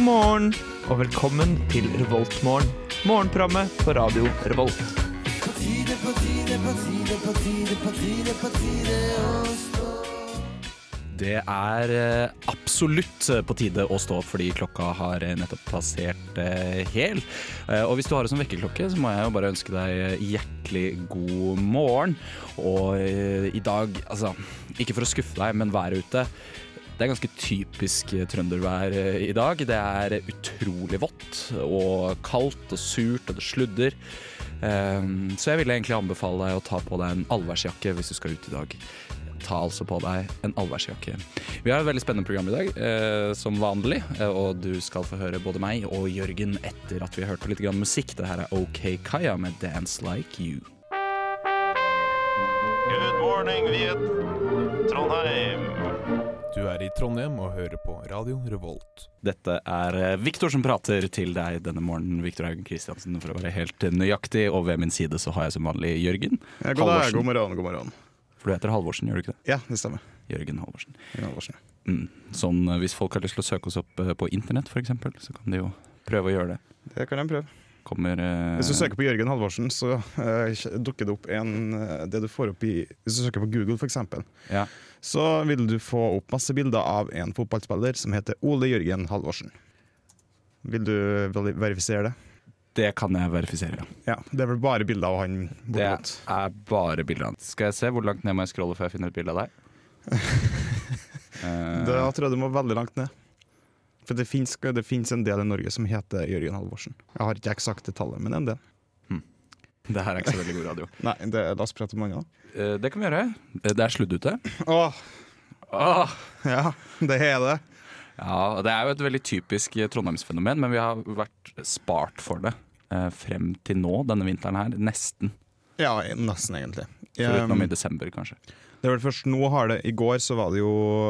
morgen og velkommen til Revoltmorgen. Morgenprogrammet på radio Revolt. Det er eh, absolutt eh, på tide å stå opp, fordi klokka har eh, nettopp passert eh, hel. Eh, Og hvis du har det som vekkerklokke, så må jeg jo bare ønske deg eh, hjertelig god morgen. Og eh, i dag, altså, ikke for å skuffe deg, men været ute det er ganske typisk eh, trøndervær eh, i dag. Det er utrolig vått og kaldt og surt, og det sludder. Ehm, Så jeg ville egentlig anbefale deg å ta på deg en allværsjakke hvis du skal ut i dag. Ta altså på deg en allværsjakke. Vi har et veldig spennende program i dag, eh, som vanlig. eh, Og du skal få høre både meg og Jørgen etter at vi har hørt på litt grann musikk. Det her er OK Kaya med 'Dance Like You'. Good morning, Viet. Trondheim. Du er i Trondheim og hører på Radio Revolt. Dette er Viktor som prater til deg denne morgenen. Viktor Haugen Kristiansen, for å være helt eh, nøyaktig. Og ved min side så har jeg som vanlig Jørgen. Ja, god, dag, Halvorsen. god morgen, god morgen. For du heter Halvorsen, gjør du ikke det? Ja, det stemmer. Jørgen Halvorsen. Ingen advarsel. Mm. Sånn, eh, hvis folk har lyst til å søke oss opp eh, på internett, f.eks., så kan de jo prøve å gjøre det. Det kan jeg prøve. Kommer eh, Hvis du søker på Jørgen Halvorsen, så eh, dukker det opp en eh, Det du får opp i Hvis du søker på Google, f.eks., ja. så vil du få opp masse bilder av en fotballspiller som heter Ole Jørgen Halvorsen. Vil du vel- verifisere det? Det kan jeg verifisere. ja. Ja. Det er vel bare bilder av han Det bortimot. er bare bilder av han. Skal jeg se hvor langt ned må jeg scrolle før jeg finner et bilde av deg? Eh, Da tror jeg du må veldig langt ned. For det fins det finnes en del i Norge som heter Jørgen Halvorsen. Jeg har ikke eksakte tallet, men en del. det her er ikke så veldig god radio. Nei, det, la oss prate om noe annet. Eh, det kan vi gjøre. Eh, Det er sludd ute. Åh, Åh! ja, det er det. Ja, og Det er jo et veldig typisk eh, trondheimsfenomen, men vi har vært spart for det eh, frem til nå denne vinteren her. Nesten. Ja, nesten egentlig. Foruten Um, i desember, kanskje. det er vel først nå har det I går så var det jo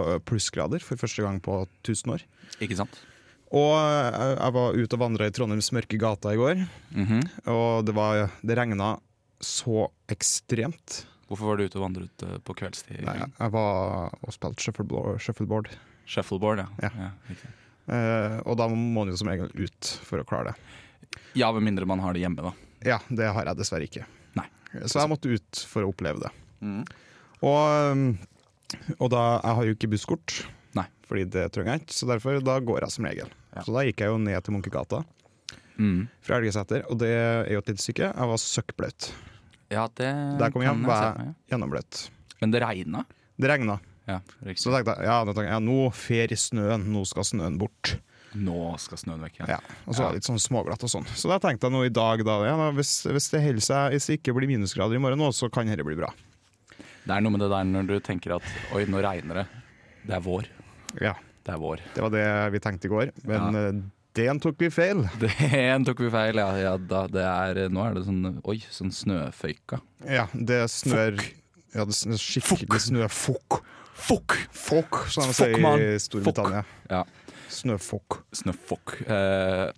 eh, plussgrader for første gang på 1000 år. Ikke sant? Og eh, jeg jeg var ute og vandra i Trondheims mørke gater i går, Mhm. og det, var- det regna så ekstremt. Hvorfor var du ute og vandret eh, på kveldstid? Nei, jeg- jeg var og spilte shuffleboard. shuffleboard. Shuffleboard, ja. Ja. riktig. Eh, og da må man jo som regel ut for å klare det. ja, med mindre man har det hjemme, da. Ja, det har jeg dessverre ikke. Nei. Så jeg måtte ut for å oppleve det. Mhm. Og, um, og da, jeg har jo ikke busskort, Nei. fordi det trenger jeg ikke, så derfor da går jeg som regel. Ja. Så da gikk jeg jo ned til Munkegata Mm. fra Elgeseter, og det er jo et lite stykke. Jeg var søkkbløt. Ja, det Der kom jeg kan hjem, se var for meg, ja. jeg gjennombløt. Men det regna? Det regna, Ja, riktig. så tenkte jeg ja, nå, tenkte jeg, ja, nå fer snøen, nå skal snøen bort. Nå skal snøen vekk, ja. Ja, og så var det litt sånn småglatt og sånn. Så da tenkte jeg nå i dag, da, ja, da hvis, hvis det holder seg, hvis det ikke blir minusgrader i morgen nå, så kan dette bli bra. Det er noe med det der når du tenker at oi, nå regner det. Det er vår. Ja, Det er vår. Det var det vi tenkte i går, men Ja. eh, den tok vi feil. Det tok vi feil, ja. ja da, det er, nå er det sånn oi, sånn snøføyka. Ja, det snør Ja, det snør skikkelig Det snør fokk. Fuck! Fokk, som de Fokk, sier mann. i Storbritannia. Ja, Snøfokk. snøfokk. Eh,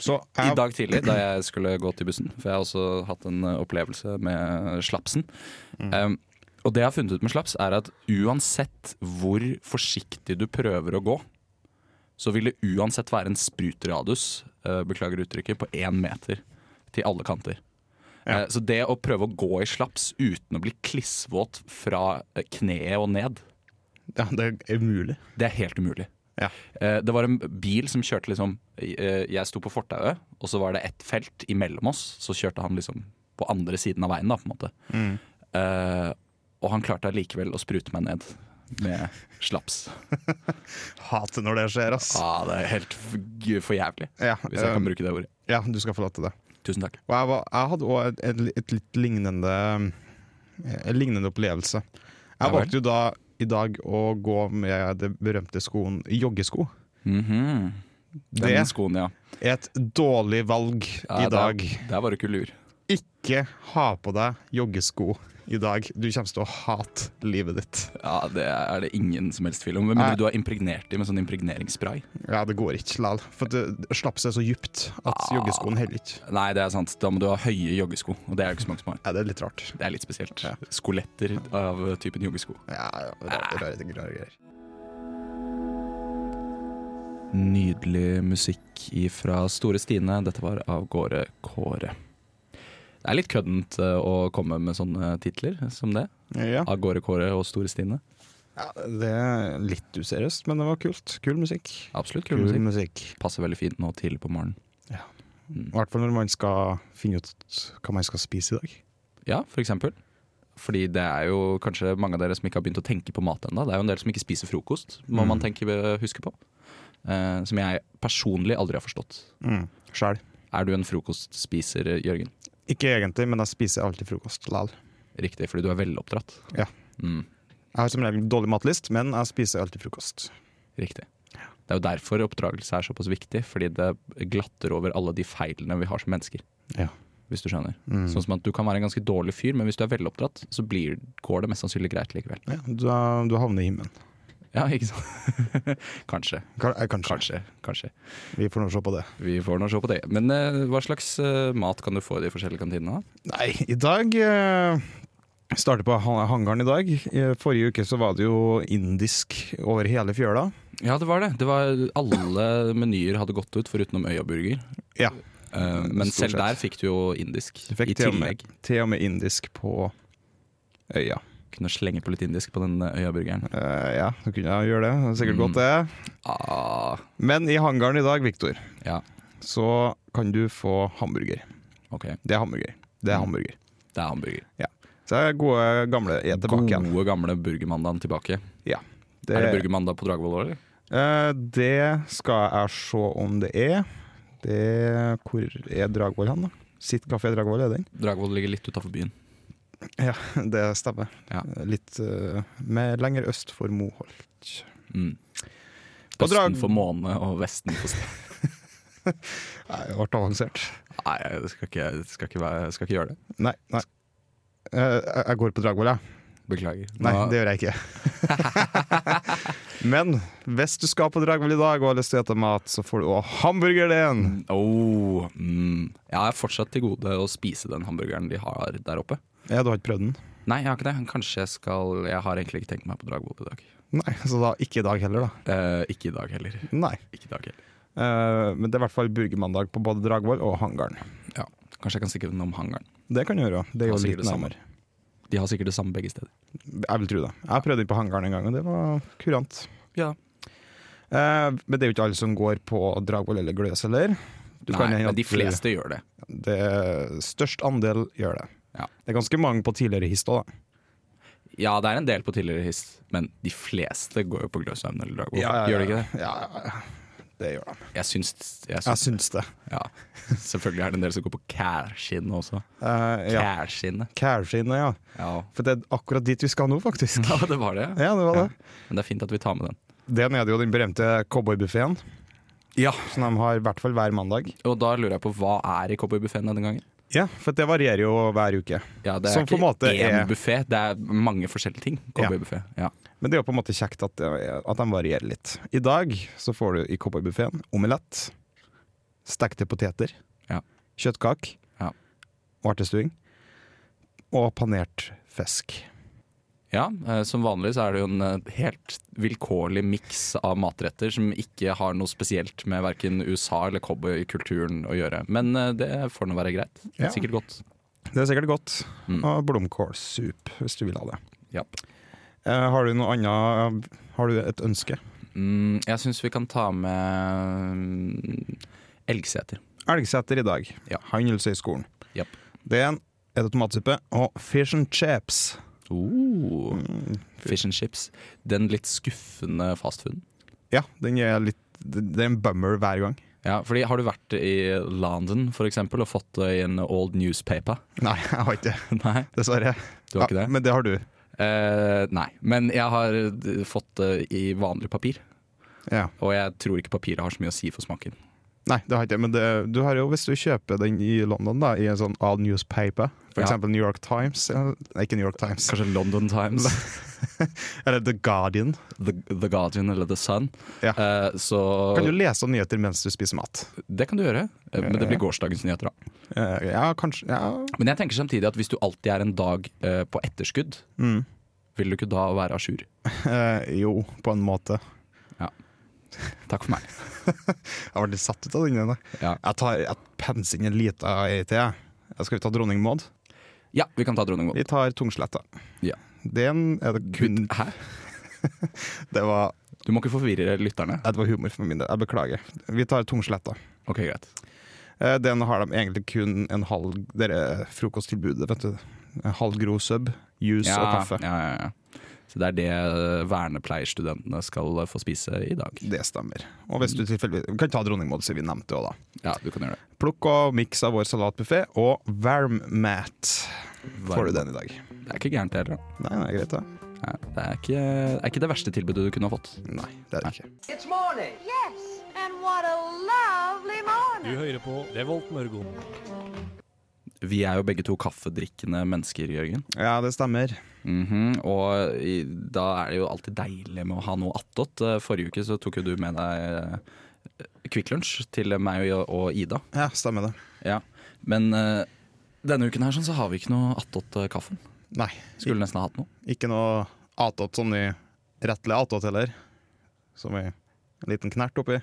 Så I jeg, dag tidlig da jeg skulle gå til bussen, for jeg har også hatt en eh, opplevelse med slapsen. Um, og det jeg har funnet ut med slaps, er at uansett hvor forsiktig du prøver å gå, så vil det uansett være en sprutradius, eh, beklager uttrykket, på én meter til alle kanter. Ja. Eh, Så det å prøve å gå i slaps uten å bli klissvåt fra eh, kneet og ned, ja, det er umulig. det er helt umulig. Ja. Eh, Det var en bil som kjørte liksom eh, Jeg sto på fortauet, og så var det ett felt imellom oss. Så kjørte han liksom på andre siden av veien, da, på en måte. Eh, og han klarte allikevel å sprute meg ned med slaps. Hater når det skjer, ass. Ah, det er helt f- g- for jævlig, Ja, hvis jeg eh, kan bruke det ordet. ja du skal få lov til det. Um, Tusen takk. Og jeg, var, jeg hadde òg et, et, et litt lignende eh, En lignende opplevelse. Ja Jeg vel. valgte jo da i dag å gå med det berømte skoen joggesko. Mhm. Det Den er skoen, ja. et dårlig valg ja i dag. Der, der var du ikke lur. Ikke ha på deg joggesko i dag. Du kommer til å hate livet ditt. Ja, Det er det ingen som helst tvil om. Med Nei. mindre du har impregnert dem med sånn impregneringsspray. Ja, det går ikke, lal. For det slapp seg så djupt at joggeskoen heller ikke. Nei, det er sant. Da må du ha høye joggesko, og det er det ikke så mange som har. Ja, det er litt rart. Det er litt spesielt. Ja. Skoletter av typen joggesko. Ah. Ja, ja, rare, rare, rare greier. nydelig musikk fra Store Stine. Dette var av gårde Kåre. Det er litt køddent eh, å komme med sånne titler som det. Ja. Av gårde Kåre og Store Stine. ja, det er litt useriøst, men det var kult. Kul musikk. Absolutt kul musikk. musikk. Passer veldig fint nå tidlig på morgenen. Mm. I hvert fall når man skal finne ut hva man skal spise i dag. Ja, for eksempel. Fordi det er jo kanskje mange av dere som ikke har begynt å tenke på mat ennå. Det er jo en del som ikke spiser frokost, må Mm. man tenke, huske på. Eh, som jeg personlig aldri har forstått. Mm. Sjæl. Er du en frokostspiser, Jørgen? Ikke egentlig, men jeg spiser alltid frokost likevel. Riktig, fordi du er veloppdratt. Ja. Mm, Jeg har som regel dårlig matlist, men jeg spiser alltid frokost. riktig. Det er jo derfor oppdragelse er såpass viktig, fordi det glatter over alle de feilene vi har som mennesker. Ja. Hvis du skjønner. Mm. Sånn som at du kan være en ganske dårlig fyr, men hvis du er veloppdratt, så blir, går det mest sannsynlig greit likevel. Ja, du, er- du havner i himmelen. Ja, ikke sant? kanskje, Ka- eh, Kanskje. kanskje, kanskje. Vi får nå se på det. Vi får nå se på det. Men eh, hva slags eh, mat kan du få i de forskjellige kantinene? Nei, i dag eh, Starter på han- hangaren i dag. I forrige uke så var det jo indisk over hele fjøla. Ja, det var det. det var, alle menyer hadde gått ut, foruten om Øyaburger. Ja. Eh, men Stort selv sett. der fikk du jo indisk. Du fikk I til og med- tillegg Til og med indisk på øya. kunne slenge på litt indisk på den eh, Øyaburgeren. Eh, ja, så kunne jeg gjøre det. det er sikkert Mm. godt, det. Ah, Men i hangaren i dag, Viktor, Ja. så kan du få hamburger. ok, Det er hamburger. Det er Mm. hamburger. det er hamburger. Så er gode gamle er tilbake igjen. Gode, gamle burgermandagen tilbake. Det, Er det burgermandag på Dragvoll òg, eller? Eh, det skal jeg se om det er. Det, hvor er Dragvoll hen, da? Sitt kafé Dragvoll, er den? Dragvoll ligger litt utafor byen. Ja, det stemmer. Ja. Litt eh, mer lenger øst for Moholt. Mm. På Drag- Østen for måne og vesten for sted. Nei, det ble avansert. Nei, jeg skal ikke, skal, ikke være, skal ikke gjøre det. Nei, nei. Eh, jeg- jeg går på Dragvoll, jeg. Beklager. Nei, Nå- det gjør jeg ikke. Men hvis du skal på Dragvoll i dag og har lyst til å spise mat, så får du også hamburger din! Oh, mm. Jeg har fortsatt til gode å spise den hamburgeren de har der oppe. Ja, du har ikke prøvd den? Nei, jeg har ikke det. Kanskje jeg skal Jeg har egentlig ikke tenkt meg på Dragvoll i dag. Nei, så da ikke i dag heller, da. Eh, ikke i dag heller. Nei. Ikke i dag heller. Eh, men det er i hvert fall burgermandag på både Dragvoll og Hangaren. Ja. Kanskje jeg kan sikre den om hangaren. Det kan du gjøre. Det er Har jo sikkert litt det samme. nærmere. De har sikkert det samme begge steder. Jeg vil tro det. Jeg prøvde den på Hangaren en gang, og det var kurant. Ja. Eh, men det er jo ikke alle som går på Dragvoll eller Gløs heller. Du kan Nei, hende men at de fleste gjør det. Det størst andel gjør det. Ja. Det er ganske mange på tidligere hist òg, da. Ja, det er en del på tidligere hist, men de fleste går jo på Gløshaugen eller Dragvoll. Ja, ja, ja. Gjør de ikke det? Ja, ja, ja. det gjør de. Jeg syns, jeg Jeg syns syns det. Ja. Selvfølgelig er det en del som går på Kærskinnet også. Eh, ja. Kærskinnet. Cashine, ja. Ja. For det er akkurat dit vi skal nå, faktisk. ja, det var det. Ja, det var det. Men det er fint at vi tar med den. Den er det jo den berømte cowboybuffeen, Ja, som de har i hvert fall hver mandag. Og da lurer jeg på hva er i cowboybuffeen denne gangen? Ja, for det varierer jo hver uke. Ja, det er Som på en måte ikke én er- buffé, det er mange forskjellige ting. Cowboybuffé. Ja. Men det er jo på en måte kjekt at, det- at de varierer litt. I dag så får du i cowboybuffeen omelett, stekte poteter, Ja. kjøttkake, Ja. vartestuing og panert fisk. Ja, eh, Som vanlig så er det jo en eh, helt vilkårlig miks av matretter som ikke har noe spesielt med verken USA eller cowboykulturen å gjøre. Men eh, det får nå være greit. Ja. Sikkert godt. Det er sikkert godt. Mm. Og blomkålsup, hvis du vil ha det. Ja. Eh, har du noe annet Har du et ønske? Mm, jeg syns vi kan ta med mm, elgseter. Elgseter i dag. Ja. Handelshøyskolen. Japp. Det er en er det tomatsuppe og fish and chips. Mm. Oh, fish and chips. Den litt skuffende fastfooden. Ja, den er litt Det er en bummer hver gang. Ja, fordi Har du vært i London for eksempel, og fått det i en old newspaper? Nei, jeg har ikke det. Nei, Dessverre. du har ikke Ja, det? men det har du. Eh, nei, men jeg har eh, fått det i vanlig papir. Ja. Og jeg tror ikke papiret har så mye å si for smaken. Nei, det har ikke jeg, men det, du har jo hvis du kjøper den i London, da, i en sånn all newspaper, for Ja. eksempel New York Times eller- Nei, ikke New York Times, Kanskje London Times, eller The Guardian. The, The Guardian eller The Sun. Ja. Eh, så Kan du lese om nyheter mens du spiser mat? det kan du gjøre, eh, men det blir gårsdagens nyheter. da Eh, ja, kanskje ja. Men jeg tenker samtidig at hvis du alltid er en dag eh, på etterskudd, Mm. vil du ikke da være à jour? Eh, Jo, på en måte. Ja. Takk for meg. Jeg ble litt satt ut av den. ene. Ja. Jeg tar jeg penser inn en liten ei til. jeg. Jeg Skal vi ta dronning Maud? Ja, vi kan ta dronning Maud. Vi tar Tungsletta. Ja. Den er det kun Hæ? Det var, Du må ikke forvirre lytterne. det var humor for min del. Jeg beklager. Vi tar Tungsletta. Ok, greit. Eh, Den har de egentlig kun en halv Det er frokosttilbudet, vet du. En halv gro sub, juice og kaffe. Ja, ja, ja. Så det er det eh, vernepleierstudentene skal eh, få spise i dag. Det stemmer. Og hvis du tilfeldigvis Vi kan ta dronning Maud, siden vi nevnte det òg, da. Ja, du kan gjøre det. Plukk og miks av vår salatbuffé, og varmmat får du den i dag. Det er ikke gærent det heller. Nei, nei, greit, det. Nei, Det er ikke, det er ikke det verste tilbudet du kunne ha fått. Nei, det er det ikke. It's morning. Yes, and what a lovely morning. hører på Revolt Mørgon. Vi er jo begge to kaffedrikkende mennesker, Jørgen. Ja, det stemmer. Mhm, Og i, da er det jo alltid deilig med å ha noe attåt. Eh, Forrige uke så tok jo du med deg eh, Kvikk Lunsj til meg og, og Ida. Ja, stemmer det. Ja. Men eh, denne uken her sånn, så har vi ikke noe attåt eh, kaffen. Nei, Skulle nesten ha hatt noe. ikke noe atåt sånn i rettelig atåt heller. Som i en liten knert oppi.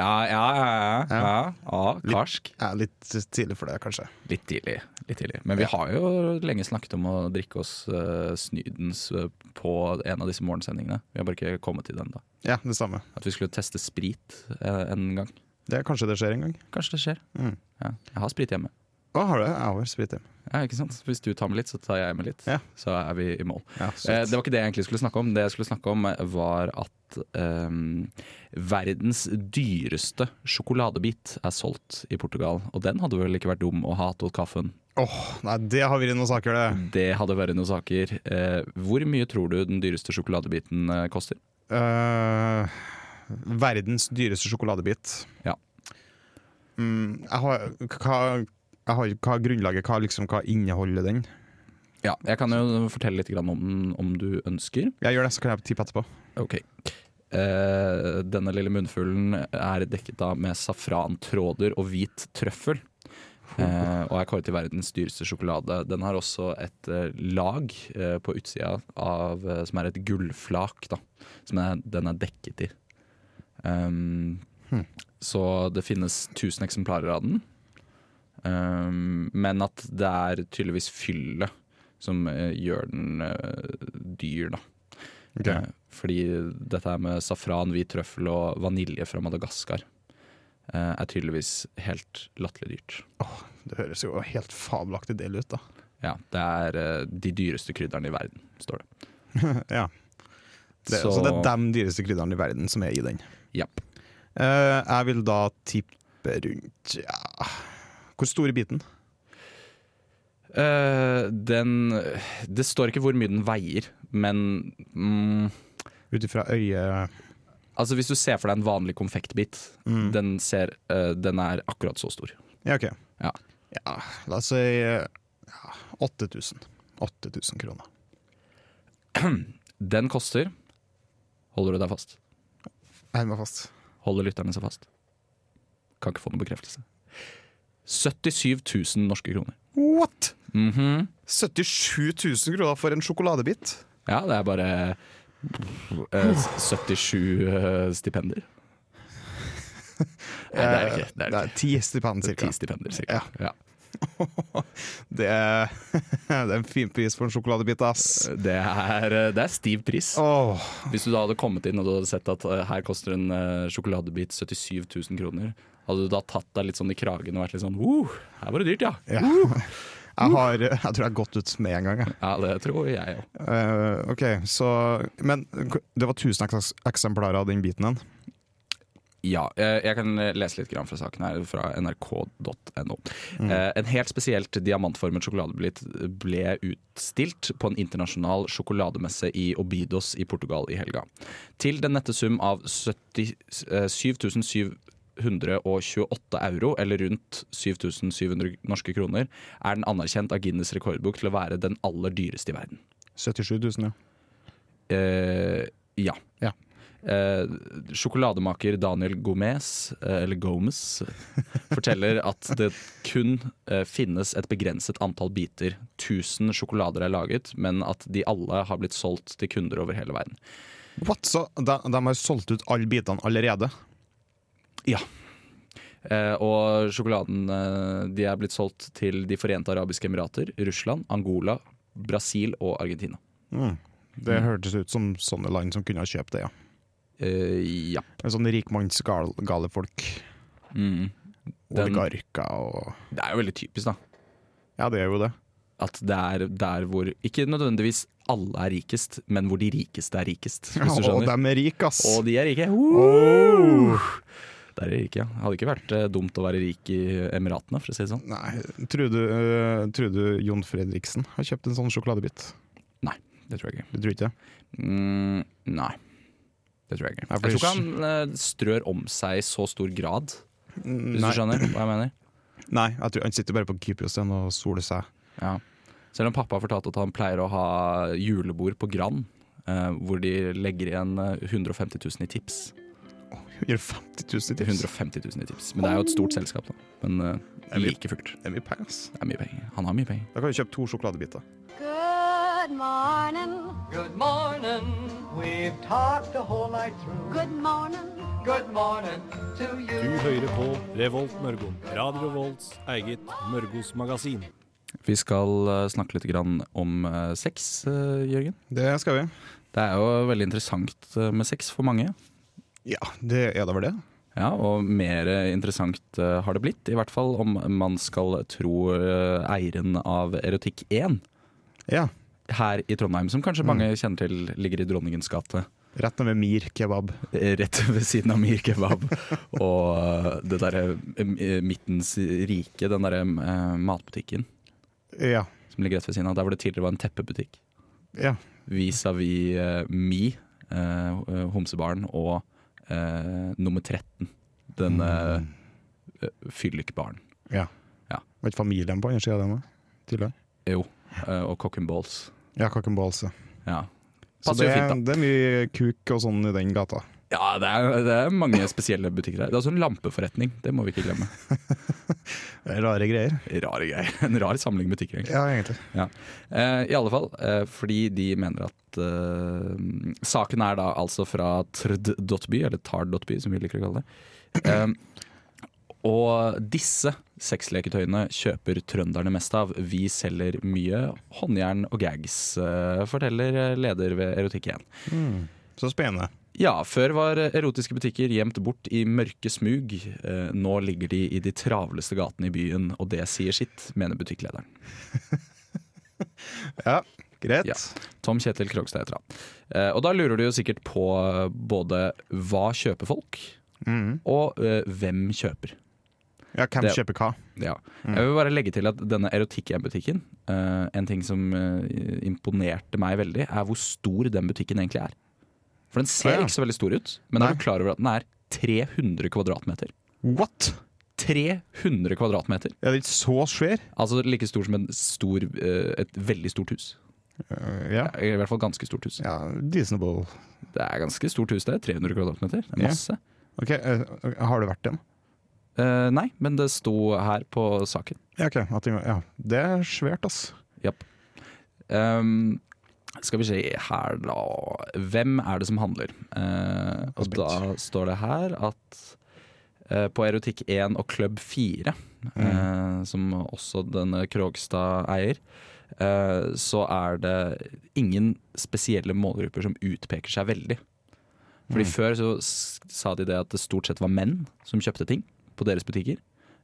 Ja, ja, ja. ja, ja. ja karsk. Jeg er litt tidlig for det, kanskje. Litt tidlig. litt tidlig. Men vi har jo lenge snakket om å drikke oss eh, snydens eh, på en av disse morgensendingene. Vi har bare ikke kommet til den da. Ja, det stemmer. At vi skulle teste sprit eh, en gang. Det, kanskje det skjer en gang. Kanskje det skjer. Mm. Ja, jeg har sprit hjemme. Å, har du det? Jeg har sprit hjemme. Ja, ikke sant? Hvis du tar med litt, så tar jeg med litt. Ja. Så er vi i mål. Ja, Eh, søtt. det var ikke det jeg egentlig skulle snakke om. Det jeg skulle snakke om eh, var at eh, verdens dyreste sjokoladebit er solgt i Portugal. Og den hadde vel ikke vært dum å ha hatt hos kaffen. Åh, nei, det har vært noen saker, det. Det hadde vært noen saker. Eh, hvor mye tror du den dyreste sjokoladebiten eh, koster? Eh, verdens dyreste sjokoladebit. Ja. Mm, jeg har, hva, jeg har, hva er grunnlaget? Hva, liksom, hva inneholder den? Ja, jeg kan jo fortelle litt grann om den om du ønsker. Jeg gjør det, så kan jeg tippe etterpå. Ok. Eh, denne lille munnfuglen er dekket av med safrantråder og hvit trøffel. Eh, og er kåret til verdens dyreste sjokolade. Den har også et eh, lag eh, på utsida av, eh, som er et gullflak, da, som er, den er dekket i. Um, Hmm. Så det finnes 1000 eksemplarer av den. Um, men at det er tydeligvis fyllet som eh, gjør den eh, dyr, da. Eh, Fordi dette her med safran, hvit trøffel og vanilje fra Madagaskar eh, er tydeligvis helt latterlig dyrt. Det høres jo helt fabelaktig del ut, da. Ja, det er eh, de dyreste krydderne i verden, står det. ja. Det, så... Så- det er de dyreste krydderne i verden som er i den. Ja. Eh, jeg vil da tippe rundt ja. Hvor stor er biten? Eh, den Det står ikke hvor mye den veier, men mm, Ut ifra øyet Altså Hvis du ser for deg en vanlig konfektbit, Mm. den, ser, eh, den er akkurat så stor. Ja, OK. Ja. Ja, la oss si eh, ja, 8000. 8000 kroner. Den koster Holder du deg fast? Jeg holder meg fast. Holder lytterne seg fast? Kan ikke få noen bekreftelse. 77 000 norske kroner. Mhm. What?! 77 000 kroner for en sjokoladebit? Ja, det er bare eh, 77 eh, stipender. Nei, det er det ikke. Det er det ikke. Eh, ti stipend, Ti cirka. stipender, cirka. Ja. Det er, det er en fin pris for en sjokoladebit, ass. Det, er, eh, det er stiv pris. Åh, Hvis du da hadde kommet inn og du hadde sett at eh, her koster en eh, sjokoladebit 77 000 kroner, hadde du da tatt deg litt sånn i kragen og vært litt sånn uh, her var det dyrt, ja. ja. Uh. Jeg, har, jeg tror jeg har gått ut med en gang. Jeg. Ja, det tror jeg òg. Eh, ok, så, Men det var 1000 eks- eksemplarer av den biten. Den. Ja, eh, jeg kan lese litt grann fra saken her, fra nrk.no. Eh, En helt spesielt diamantformet sjokoladebit ble utstilt på en internasjonal sjokolademesse i Obidos i Portugal i helga. Til den nette sum av 70, eh, 7728 euro, eller rundt 7700 norske kroner, er den anerkjent av Guinness rekordbok til å være den aller dyreste i verden. 77 000, ja. Eh, ja. Ja. Eh, sjokolademaker Daniel Gomez, eh, eller Gomez, forteller at det kun eh, finnes et begrenset antall biter. 1000 sjokolader er laget, men at de alle har blitt solgt til kunder over hele verden. What? Så de, de har solgt ut alle bitene allerede? Ja. Eh, og sjokoladen eh, de er blitt solgt til De forente arabiske emirater, Russland, Angola, Brasil og Argentina. Mm. Det hørtes ut som sånne land som kunne ha kjøpt det, ja. Eh, ja. En sånn rikmannsgale folk. Mm. Den- Oligarker og Det er jo veldig typisk, da. Ja, det er jo det. At det er der hvor Ikke nødvendigvis alle er rikest, men hvor de rikeste er rikest. Hvis du og skjønner. de er rike, ass! Og de er rike. Oh. Der er de rike, ja. Hadde ikke vært eh, dumt å være rik i Emiratene, for å si det sånn. Nei, tror du, øh, tror du Jon Fredriksen har kjøpt en sånn sjokoladebit? Nei, det tror jeg ikke. Du tror ikke det? Mm, nei. Det tror jeg ikke. Ja, Jeg for tror det- ikke han eh, strør om seg i så stor grad, hvis Nei. du skjønner hva jeg mener. Nei, jeg tror han sitter bare på Kypros igjen og soler seg. Ja. Selv om pappa har fortalt at han pleier å ha julebord på Gran, eh, hvor de legger igjen eh, 150 000 i tips. 150 000 i tips. 150 000 i tips. Men det er jo et stort selskap, da. Men eh, Jeg vil- like fullt. Det er mye penger, ass. Det er mye penger. Han har mye penger. Da kan du kjøpe to sjokoladebiter. Good morning. Good morning. We've talked the whole night through. Good morning. Good morning to you. Du hører på Revolt Mørgo. Radio Revolts eget Mørgos magasin. Vi skal eh, snakke litt grann om eh, sex, eh, Jørgen. Det skal vi. Det er jo veldig interessant eh, med sex for mange. Ja, det er da vel det. Ja, og mer eh, interessant eh, har det blitt. I hvert fall om man skal tro eh, eieren av Erotikk 1 Ja. her i Trondheim, som kanskje mange kjenner til ligger i Dronningens gate. Rett ned ved Mir kebab. eh, Rett ved siden av Mir kebab og eh, det derre eh, Midtens rike, den derre eh, matbutikken Ja. som ligger rett ved siden av. Der hvor det tidligere var en teppebutikk. ja. Vis-à-vis eh, Me, eh, Homsebaren, og eh, nummer 13. Denne eh, fyllikbaren. Var ikke familien på andre sida av den? da? Tidligere. Jo. eh, og Cock and Balls. Ja, Kaken Balls. ja. Ja. Så Passer det, jo fint, da. det er mye kuk og sånn i den gata. Ja, det er, det er mange spesielle butikker her. Det er også en lampeforretning, det må vi ikke glemme. Det er Rare greier. Rare greier. En rar samling butikker, egentlig. Ja, egentlig. Eh, I alle fall, eh, fordi de mener at eh, Saken er da altså fra trd.by, eller tard.by som vi liker å kalle det. Eh, og disse sexleketøyene kjøper trønderne mest av. Vi selger mye håndjern og gags, eh, forteller leder ved Erotikk 1. Så spennende. Ja, før var erotiske butikker gjemt bort i mørke smug. Eh, Nå ligger de i de travleste gatene i byen, og det sier sitt, mener butikklederen. Ja, greit. Ja. Tom Kjetil Krogstad heter han. Eh, Og da lurer du jo sikkert på eh, både hva kjøper folk, Mhm. og eh, hvem kjøper. ja hvem Det- kjøper hva? Ja. Mm. Jeg vil bare legge til at denne erotikk-butikken, eh, en ting som eh, imponerte meg veldig, er hvor stor den butikken egentlig er. For den ser Ja. ikke så veldig stor ut, men Nei. er du klar over at den er 300 kvadratmeter? What? 300 kvadratmeter. Er det ikke så svær? Altså like stor som en stor, eh, et veldig stort hus. Eh, ja. I hvert fall ganske stort hus. ja. Reasonable. Det er ganske stort hus, det. 300 kvadratmeter. Det er Ja. masse. Ok, eh, Har det vært den? Eh, nei, men det sto her på saken. Ja, ok. At den- ja. Det er svært, ass. Japp. Ehm, skal vi se her, da. Hvem er det som handler? Eh, og Aspekt. da står det her at eh, på Erotikk 1 og Klubb 4, eh, som også denne Krogstad eier, eh, så er det ingen spesielle målgrupper som utpeker seg veldig. Fordi Før så s- sa de det at det stort sett var menn som kjøpte ting på deres butikker.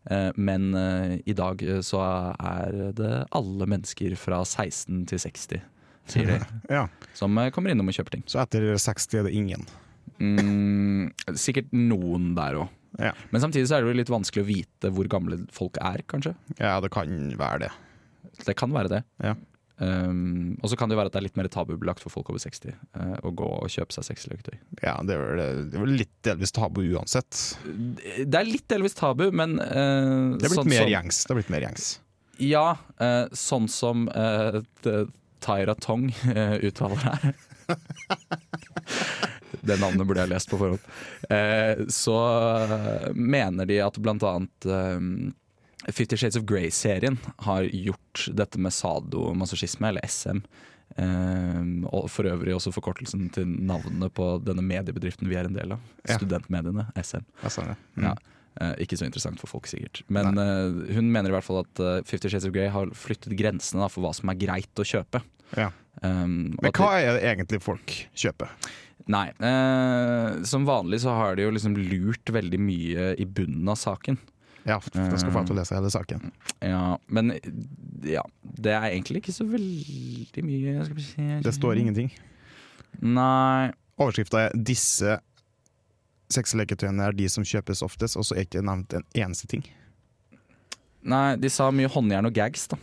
Eh, Men eh, i dag eh, så er det alle mennesker fra 16 til 60 sier de, Ja. som eh, kommer innom og kjøper ting. Så etter 60 er det ingen. Mm, sikkert noen der òg. Ja. Men samtidig så er det jo litt vanskelig å vite hvor gamle folk er, kanskje. ja, det kan være det. Det kan være det. Ja. Um, og så kan det jo være at det er litt mer tabubelagt for folk over 60 eh, å gå og kjøpe seg sexleketøy. Ja, det er vel, det er vel litt delvis tabu uansett. Det er litt delvis tabu, men eh, Det er blitt sånn mer som- gjengs. Det er blitt mer gjengs. Ja, eh, sånn som eh, t- Tyra Tong eh, uttaler her. Det navnet burde jeg lest på forhånd. Eh, så eh, mener de at blant annet eh, Fifty Shades of Grey-serien har gjort dette med sadomasochisme, eller SM, Ehm, og for øvrig også forkortelsen til navnet på denne mediebedriften vi er en del av. Ja. Studentmediene, SM. Jeg sa det. Mm. Ja. Eh, ikke så interessant for folk, sikkert. Men eh, hun mener i hvert fall at eh, Fifty Shades of Grey har flyttet grensene da, for hva som er greit å kjøpe. Ja. Ehm, og Men at hva er det egentlig folk kjøper? Nei. Eh, som vanlig så har de jo liksom lurt veldig mye i bunnen av saken. Ja, for da skal folk til å lese hele saken. Ja, men ja, det er egentlig ikke så veldig mye skal vi se. Det står ingenting. Nei. Overskrifta er 'Disse sexleketøyene er de som kjøpes oftest', og så er ikke nevnt en eneste ting. Nei, de sa mye håndjern og gags, da.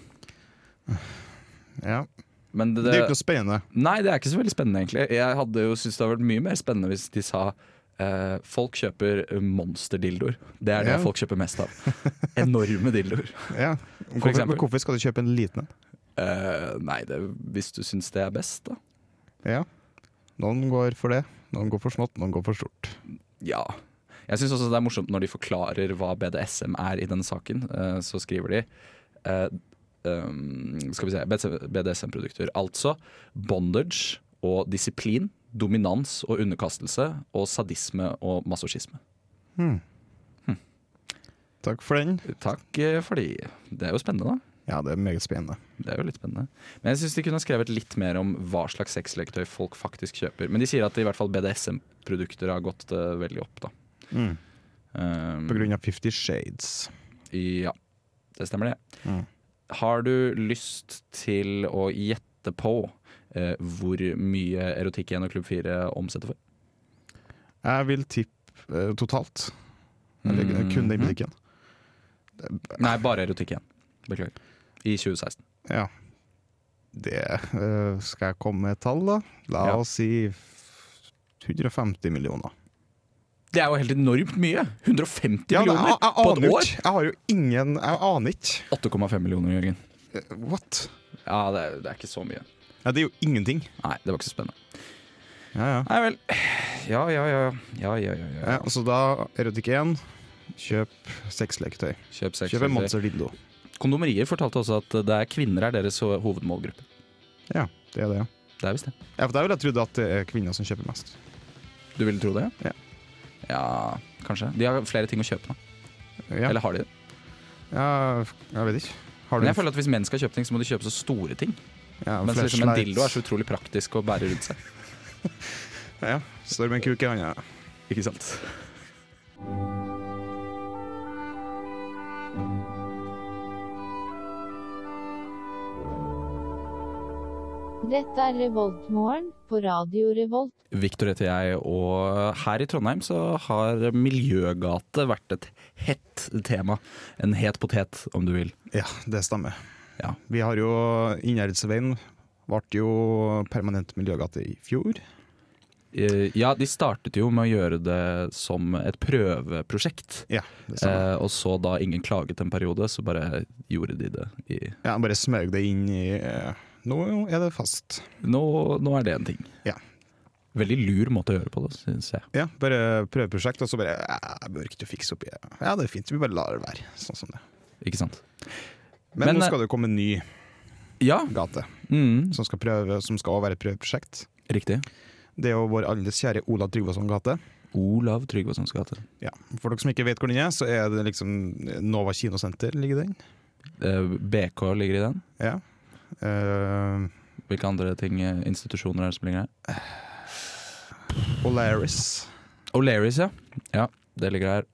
Ja. Men det, Det er jo ikke noe spennende. Nei, det er ikke så veldig spennende, egentlig. Jeg hadde jo syntes det hadde vært mye mer spennende hvis de sa eh, folk kjøper monsterdildoer. Det er det Ja. folk kjøper mest av. Enorme dildoer. Ja. Hvorfor, eksempel. men hvorfor skal du kjøpe en liten en? Eh, nei, det, hvis du syns det er best, da. Ja. Noen går for det, noen går for smått, noen går for stort. Ja. Jeg syns også det er morsomt når de forklarer hva BDSM er i denne saken. Eh, så skriver de eh, um, Skal vi se BDSM-produkter. Altså bondage og disiplin, dominans og underkastelse, og sadisme og masochisme. Takk for den. Takk eh, for de. Det er jo spennende, da. Ja, det er meget spennende. Det er jo litt spennende. Men jeg syns de kunne ha skrevet litt mer om hva slags sexleketøy folk faktisk kjøper. Men de sier at i hvert fall BDSM-produkter har gått eh, veldig opp, da. Mm. Um, På grunn av Fifty Shades. Ja, det stemmer det. Mm. Har du lyst til å gjette på eh, hvor mye erotikk igjen og Klubb 4 omsetter for? Jeg vil tippe eh, totalt. Eller Mm. kun den butikken. Nei, bare erotikk igjen. Beklager. I 2016. Ja. Det eh, Skal jeg komme med et tall, da? La Ja. oss si f- 150 millioner. Det er jo helt enormt mye! 150 Ja, men millioner jeg, jeg, på aner et jo år! ikke. Jeg har jo ingen Jeg aner ikke. 8,5 millioner, Jørgen. Eh, What? Ja, det er, det er ikke så mye. Ja, det er jo ingenting. Nei, det var ikke så spennende. Ja, ja. Nei vel. Ja, ja, ja. ja, ja, ja, ja. Ja, så da, erotikk 1, kjøp sexleketøy. Kjøp sex. Kjøp en monster dildo. Kondomeriet fortalte også at det er kvinner er deres hovedmålgruppe. Ja, det er det. ja. Det er visst det. Ja, for Der ville jeg trodd at det er kvinner som kjøper mest. Du ville tro det? Ja. ja, kanskje. De har flere ting å kjøpe, da. Ja, Eller har de det? ja jeg vet ikke. Har du Men jeg føler at Hvis menn skal kjøpe ting, så må de kjøpe så store ting. ja, Mens liksom en flashlight? dildo er så utrolig praktisk å bære rundt seg. Ja, står med en kuk i hånda. Ikke sant? Dette er Revoltmorgen på Radio Revolt. Victor heter jeg, og her i Trondheim så har miljøgate vært et hett tema. En het potet, om du vil. Ja, det stemmer. Ja. Vi har jo Innherredsveien ble jo permanent miljøgate i fjor. Eh, Ja, de startet jo med å gjøre det som et prøveprosjekt. Ja, det stemmer. Eh, og så da ingen klaget en periode, så bare gjorde de det i Ja, bare smøg det inn i eh, Nå er det fast. Nå, nå er det en ting. Ja. Veldig lur måte å gjøre på det, syns jeg. Ja, bare prøveprosjekt, og så bare "Ja, Jeg bør ikke du fikse opp i Ja, det er fint, vi bare lar det være. Sånn som det. Ikke sant? Men, Men, eh, nå skal det komme en ny Ja, gate, mm, som skal, prøve, som skal også være et prøveprosjekt. riktig. Det er jo vår alles kjære Ola Tryggvason gate. Olav Tryggvasons gate. Ja. For dere som ikke vet hvor den er, så er det liksom Nova kinosenter ligger den. Eh, BK ligger i den. Ja. Eh, Hvilke andre ting, eh, institusjoner er det som ligger her? Polaris. O'Learys, ja. ja. Det ligger her.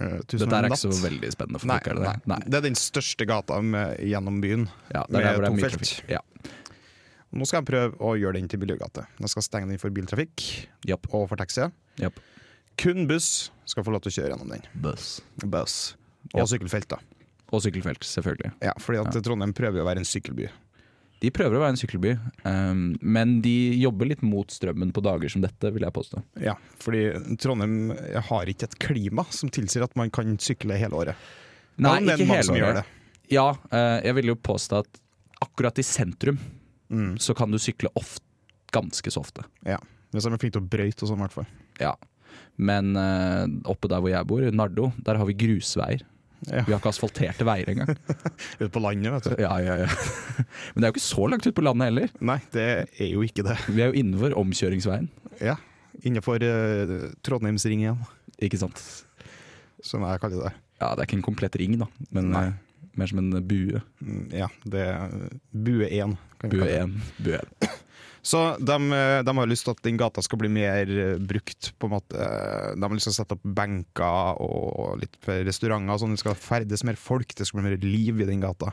Uh, Dette er ikke så veldig spennende for Nei, folk, er det nei. det? Nei. det er den største gata med, gjennom byen. Ja, det er der Med hvor det er to mye felt. trafikk. Ja. Nå skal jeg prøve å gjøre den til miljøgate. Jeg skal stenge den for biltrafikk Japp. og for taxi. Japp. Kun buss skal få lov til å kjøre gjennom den. Buss. Buss. Og Ja. sykkelfelt, da. Og sykkelfelt, selvfølgelig. Ja, fordi at Trondheim prøver jo å være en sykkelby. De prøver å være en sykkelby, ehm, men de jobber litt mot strømmen på dager som dette, vil jeg påstå. Ja, fordi Trondheim har ikke et klima som tilsier at man kan sykle hele året. Nei, Men det er ikke mange som hele gjør året. Ja, eh, jeg vil jo påstå at akkurat i sentrum Mm. så kan du sykle ofte, ganske så ofte. Ja. Hvis de er flinke til å brøyte og sånn, i hvert fall. Ja. Men eh, oppe der hvor jeg bor, i Nardo, der har vi grusveier. Ja. Vi har ikke asfalterte veier engang. Ute på landet, vet du. Ja, ja, ja. Men det er jo ikke så langt ut på landet heller. Nei, det er jo ikke det. Vi er jo innenfor omkjøringsveien, Ja. Innenfor uh, Trondheimsringen, ikke sant. som jeg kaller det. Ja, det er ikke en komplett ring, da, men Nei. eh, mer som en bue. Mm, Ja, det er Bue 1. kan vi Bue kalle det. 1. Bue 1. Så de, de har lyst til at den gata skal bli mer eh, brukt, på en måte. Eh, De har lyst til å sette opp benker og litt restauranter og sånn. Det skal ferdes mer folk, det skal bli mer liv i den gata.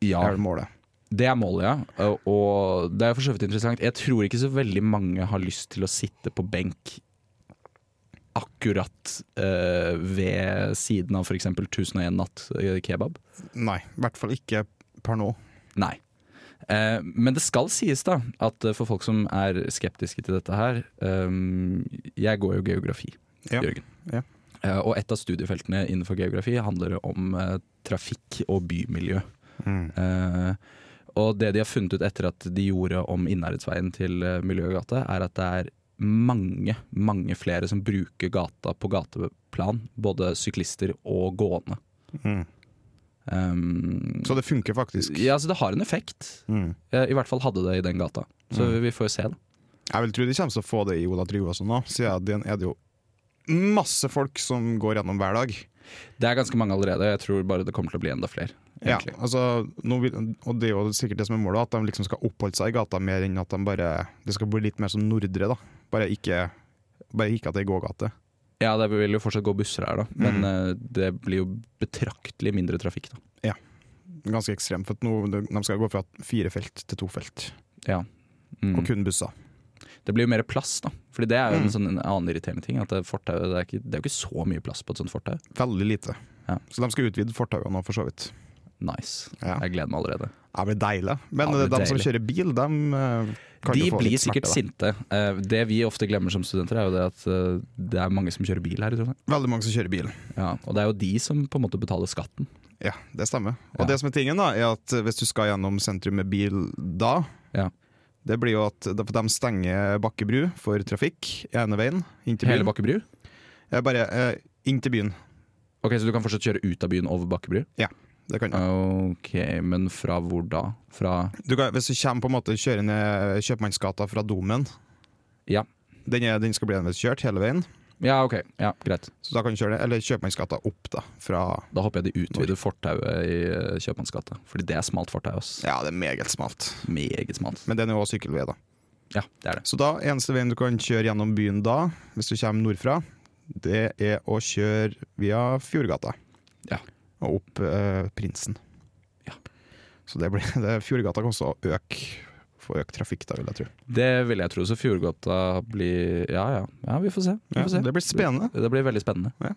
Ja, Det er det målet. det er målet, ja. Og det er jo for så vidt interessant. Jeg tror ikke så veldig mange har lyst til å sitte på benk akkurat eh, ved siden av f.eks. 1001 natt eh, kebab. Nei, i hvert fall ikke per nå. Nei. Eh, men det skal sies da at eh, for folk som er skeptiske til dette her eh, Jeg går jo geografi, Ja. Jørgen. Ja. Eh, og et av studiefeltene innenfor geografi handler om eh, trafikk og bymiljø. Eh, og det de har funnet ut etter at de gjorde om Innherredsveien til eh, Miljøgata, er at det er mange, mange flere som bruker gata på gateplan. Både syklister og gående. Mm. Um, Så det funker faktisk. ja, så det har en effekt. Mm. Eh, I hvert fall hadde det i den gata. Så vi- vi får jo se, da. Jeg vil tro de kommer til å få det i Ola Tryggvason nå, siden den er det jo masse folk som går gjennom hver dag. Det er ganske mange allerede. Jeg tror bare det kommer til å bli enda flere. Ja, egentlig. altså, nå vil, og det er jo sikkert det som er målet, at de liksom skal oppholde seg i gata mer enn at de bare Det skal bli litt mer som Nordre, da. Bare ikke, bare ikke at det er gågate. Ja, det vil jo fortsatt gå busser her, da. Men Mm. eh, det blir jo betraktelig mindre trafikk, da. Ganske ekstremt. For at nå, de skal gå fra fire felt til to felt, Ja. Mm. og kun busser. Det blir jo mer plass, da. Fordi det er jo en, Mm. sånn, en annen irriterende ting. At det, er fortau, det, er ikke, det er jo ikke så mye plass på et sånt fortau. Veldig lite. Ja. Så de skal utvide fortauene nå, for så vidt. Nice. Ja. Jeg gleder meg allerede. Det blir deilig. Men Ja, det blir de som deilig. kjører bil, de eh, kan De jo få blir litt smerte, sikkert da. sinte. Eh, Det vi ofte glemmer som studenter, er jo det at eh, det er mange som kjører bil her i Trondheim. Veldig mange som kjører bil. Ja, og det er jo de som på en måte betaler skatten. Ja, det stemmer. Ja. Og det som er tingen, da, er at hvis du skal gjennom sentrum med bil da, Ja. det blir jo at de stenger Bakkebru for trafikk ene veien inn til Hele byen. Bakke bru? Eh, Bare eh, inn til byen. Ok, Så du kan fortsatt kjøre ut av byen over Bakkebru? Det kan du. Ok, men fra hvor da? Fra du kan, hvis du kommer på en måte kjører ned Kjøpmannsgata fra Domen Ja. den, er, den skal bli enveis kjørt hele veien, Ja, ok. Ja, Greit. så da kan du kjøre det. Eller Kjøpmannsgata opp, da. Fra Da håper jeg de utvider fortauet i eh, Kjøpmanns gate. Fordi det er smalt fortau. ass. Ja, det er meget smalt. Meget smalt. Men den er jo også sykkelvei, da. Ja, det er det. Så da, eneste veien du kan kjøre gjennom byen da, hvis du kommer nordfra, det er å kjøre via Fjordgata. Ja. Og opp eh, Prinsen. Ja. Så det blir, det, Fjordgata kan også øke, få økt trafikk da, vil jeg tro. Det vil jeg tro. Så Fjordgata blir Ja, ja. ja vi får se. Vi får se. det blir spennende. Det blir veldig spennende.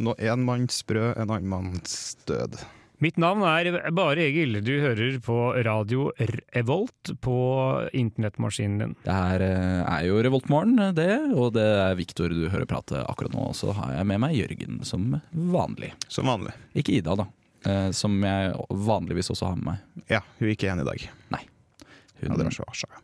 Nå en mann sprø, en annen mann stød. Mitt navn er Bare Egil. Du hører på radio Revolt på internettmaskinen din. Det her eh, er jo Revoltmorgen, eh, det. Og det er Viktor du hører prate akkurat nå. Og så har jeg med meg Jørgen som vanlig. Som vanlig. Ikke Ida, da. eh, Som jeg vanligvis også har med meg. Ja, hun er ikke enig i dag. Mm. Ja, Hun det var så arsa, ja.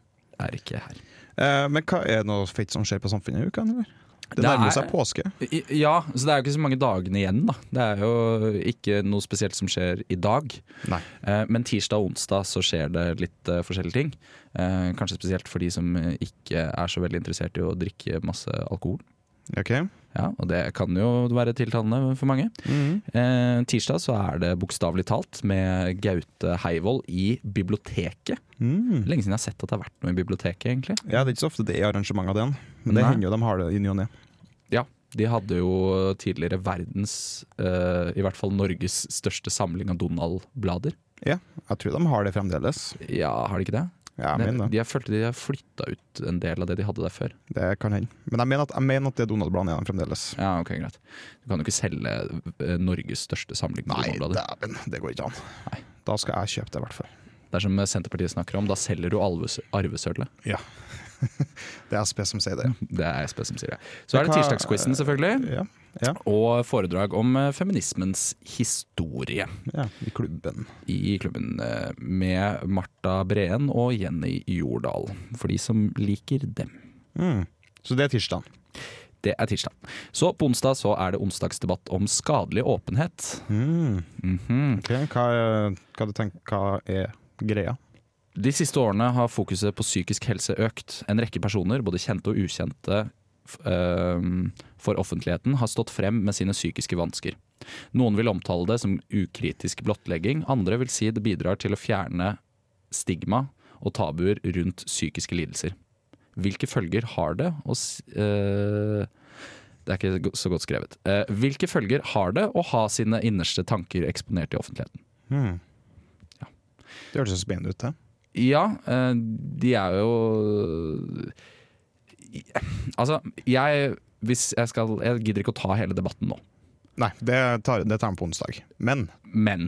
er ikke her. Eh, men hva er det noe fett som skjer på samfunnet i uka? Eller? Det, Det nærmer er- seg påske. I- Ja, så det er jo ikke så mange dagene igjen, da. Det er jo ikke noe spesielt som skjer i dag. Nei. Eh, Men tirsdag og onsdag så skjer det litt eh, forskjellige ting. Eh, Kanskje spesielt for de som eh, ikke er så veldig interessert i å drikke masse alkohol. Ok. Ja, og det kan jo være tiltalende for mange. Eh, Tirsdag så er det bokstavelig talt med Gaute Heivold i biblioteket. Mm. Lenge siden jeg har sett at det har vært noe i biblioteket, egentlig. Ja, det er ikke så ofte det er arrangement av den, men det Nei. hender jo de har det i ny og ne. Ja, de hadde jo tidligere verdens, eh, i hvert fall Norges største samling av Donald-blader. Ja, jeg tror de har det fremdeles. Ja, har de ikke det? Jeg Nei, mener det. de har, følt- de har flytta ut en del av det de hadde der før. Det kan hende. Men jeg mener at, jeg mener at det er Donald-bladet er de fremdeles. Ja, ok, greit. Du kan jo ikke selge eh, Norges største samling av Donald-blader. dæven, det går ikke an. Da skal jeg kjøpe det, i hvert fall. Det er som Senterpartiet snakker om, da selger du alves- arvesølvet. Ja. det er SP som sier det. Det er SP som sier det. Så er det Hva- tirsdagsquizen, selvfølgelig. Ja, ja, Og foredrag om eh, feminismens historie ja. I klubben. i klubben eh, med Marta Breen og Jenny Jordal. For de som liker dem. Mm. Så det er tirsdag. Det er tirsdag. Så på onsdag så er det onsdagsdebatt om skadelig åpenhet. Mm. Mhm. Ok, Hva, hva, du tenker, hva er greia? De siste årene har fokuset på psykisk helse økt. En rekke personer, både kjente og ukjente f- øhm, for offentligheten, har stått frem med sine psykiske vansker. Noen vil omtale det som ukritisk blottlegging, andre vil si det bidrar til å fjerne stigma og tabuer rundt psykiske lidelser. Hvilke følger har det? Og, s- øh, det er ikke go- så godt skrevet. Eh, hvilke følger har det å ha sine innerste tanker eksponert i offentligheten? Hmm. Ja. Det høres jo spennende ut, det. Ja, eh, de er jo Altså, jeg, hvis jeg, skal, jeg gidder ikke å ta hele debatten nå. Nei, det tar, det tar vi på onsdag. Men Men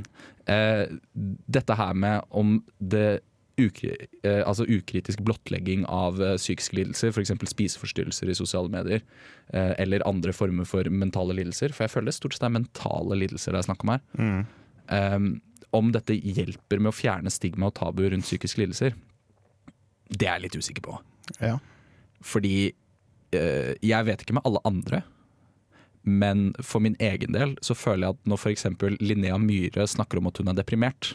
eh, dette her med om det ukri, eh, altså ukritisk blottlegging av eh, psykiske lidelser, f.eks. spiseforstyrrelser i sosiale medier, eh, eller andre former for mentale lidelser, for jeg føler stort sett det er mentale lidelser det er snakk om her, eh, om dette hjelper med å fjerne stigma og tabu rundt psykiske lidelser, det er jeg litt usikker på. ja. Fordi eh, jeg vet ikke med alle andre, men for min egen del så føler jeg at når f.eks. Linnea Myhre snakker om at hun er deprimert,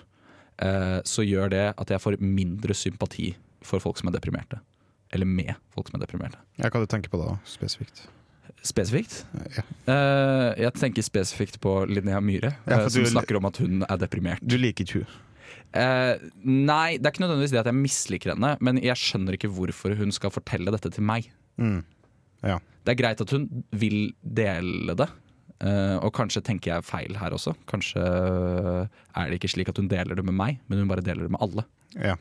eh, så gjør det at jeg får mindre sympati for folk som er deprimerte. Eller med folk som er deprimerte. ja, hva du tenker på da, spesifikt? Spesifikt? Ja. Eh, jeg tenker spesifikt på Linnea Myhre, Ja, eh, for som du- snakker om at hun er deprimert. Du liker ikke hun. Eh, nei, det er ikke nødvendigvis det at jeg misliker henne, men jeg skjønner ikke hvorfor hun skal fortelle dette til meg. Mm. Det er greit at hun vil dele det, eh, og kanskje tenker jeg feil her også. Kanskje er det ikke slik at hun deler det med meg, men hun bare deler det med alle. Ja.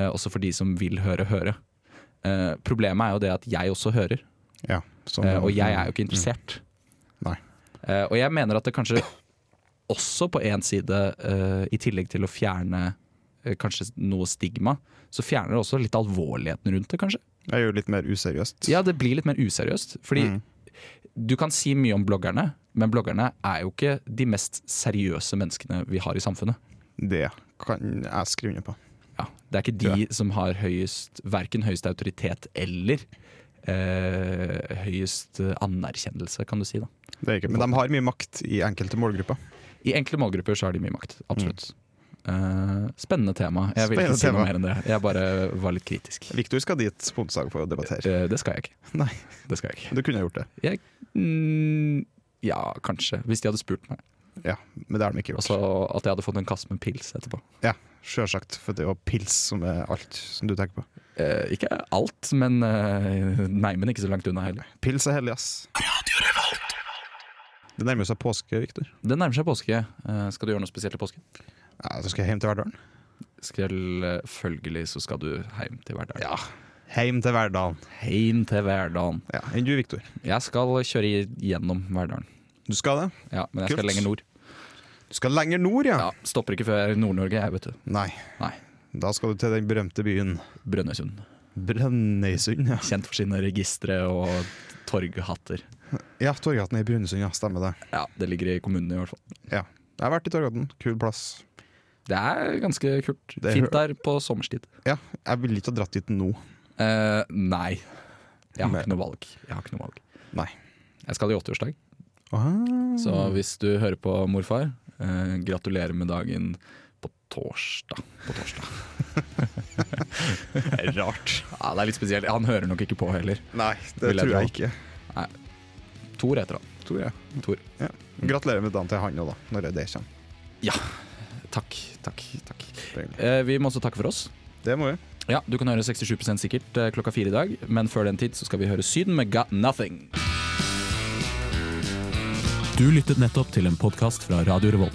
Eh, også for de som vil høre, høre. Eh, problemet er jo det at jeg også hører, ja. sånn. Som- eh, og jeg er jo ikke interessert. Mm. Nei. Eh, og jeg mener at det kanskje også på én side, eh, i tillegg til å fjerne eh, kanskje noe stigma, så fjerner det også litt alvorligheten rundt det, kanskje. Det Mm. er jo litt mer useriøst. Ja, det blir litt mer useriøst. Fordi Mm. du kan si mye om bloggerne, men bloggerne er jo ikke de mest seriøse menneskene vi har i samfunnet. Det kan jeg skrive under på. Ja, det er ikke de som har høyest, verken høyest autoritet eller eh, høyest eh, anerkjennelse, kan du si. da. Det er ikke, men de har mye makt i enkelte målgrupper. I enkle målgrupper så har de mye makt. Absolutt. Eh, spennende tema. Jeg vil ikke Spennende si noe tema. mer enn det. Jeg bare var litt kritisk. Viktor skal dit på onsdag for å debattere. Eh, det skal jeg ikke. Nei. Det skal jeg ikke. Du kunne gjort det, Mm, ja, kanskje. Hvis de hadde spurt meg. men det har de ikke Og gjort. så at jeg hadde fått en kasse med pils etterpå. Sjølsagt, for det er jo pils som er alt som du tenker på. Eh, ikke alt, men eh, Nei, men ikke så langt unna heller. Pils er hellig, ass. Det nærmer seg påske, Viktor. Det nærmer seg påske. Eh, skal du gjøre noe spesielt i påsken? Ja, så skal jeg hjem til Verdalen. Selvfølgelig så skal du hjem til hverdagen. Ja. Hjem til Verdalen. Hjem til hverdagen. Ja, Enn du, Viktor? Jeg skal kjøre gjennom Verdalen. Du skal det? Ja, men jeg skal Kult. lenger nord. Du skal lenger nord, ja. Ja, Stopper ikke før Nord-Norge, jeg, vet du. Nei. Nei. Da skal du til den berømte byen Brønnøysund. Brønnøysund. Ja, Kjent for sine registre og torghatter. ja Torgaten er i Brønnøysund, ja. Stemmer det. Ja, det ligger i kommunen i hvert fall. Jeg har vært i Torgaten. Kul plass. Det er ganske kult. Det Fint hø- der på sommerstid. Ja, jeg ville ikke ha dratt dit nå. Eh, nei. Jeg har Men- ikke noe valg. Jeg har ikke noe valg. Nei. Jeg skal i 80-årsdag. Ah. Så hvis du hører på morfar, eh, gratulerer med dagen på torsdag. På torsdag. det er rart. Ja, det er litt spesielt. Han hører nok ikke på heller. Nei, det Vil jeg tror jeg dra? ikke. Tor heter han. Tror jeg. Tor. Ja. Gratulerer med dagen til han òg, da. Når det kommer. Takk, takk, takk. Det er hyggelig. Eh, vi må også takke for oss. Det må vi. Ja, Du kan høre 67 sikkert eh, klokka fire i dag, men før den tid så skal vi høre Syden med Got Nothing. Du lyttet nettopp til en podkast fra Radio Revolt.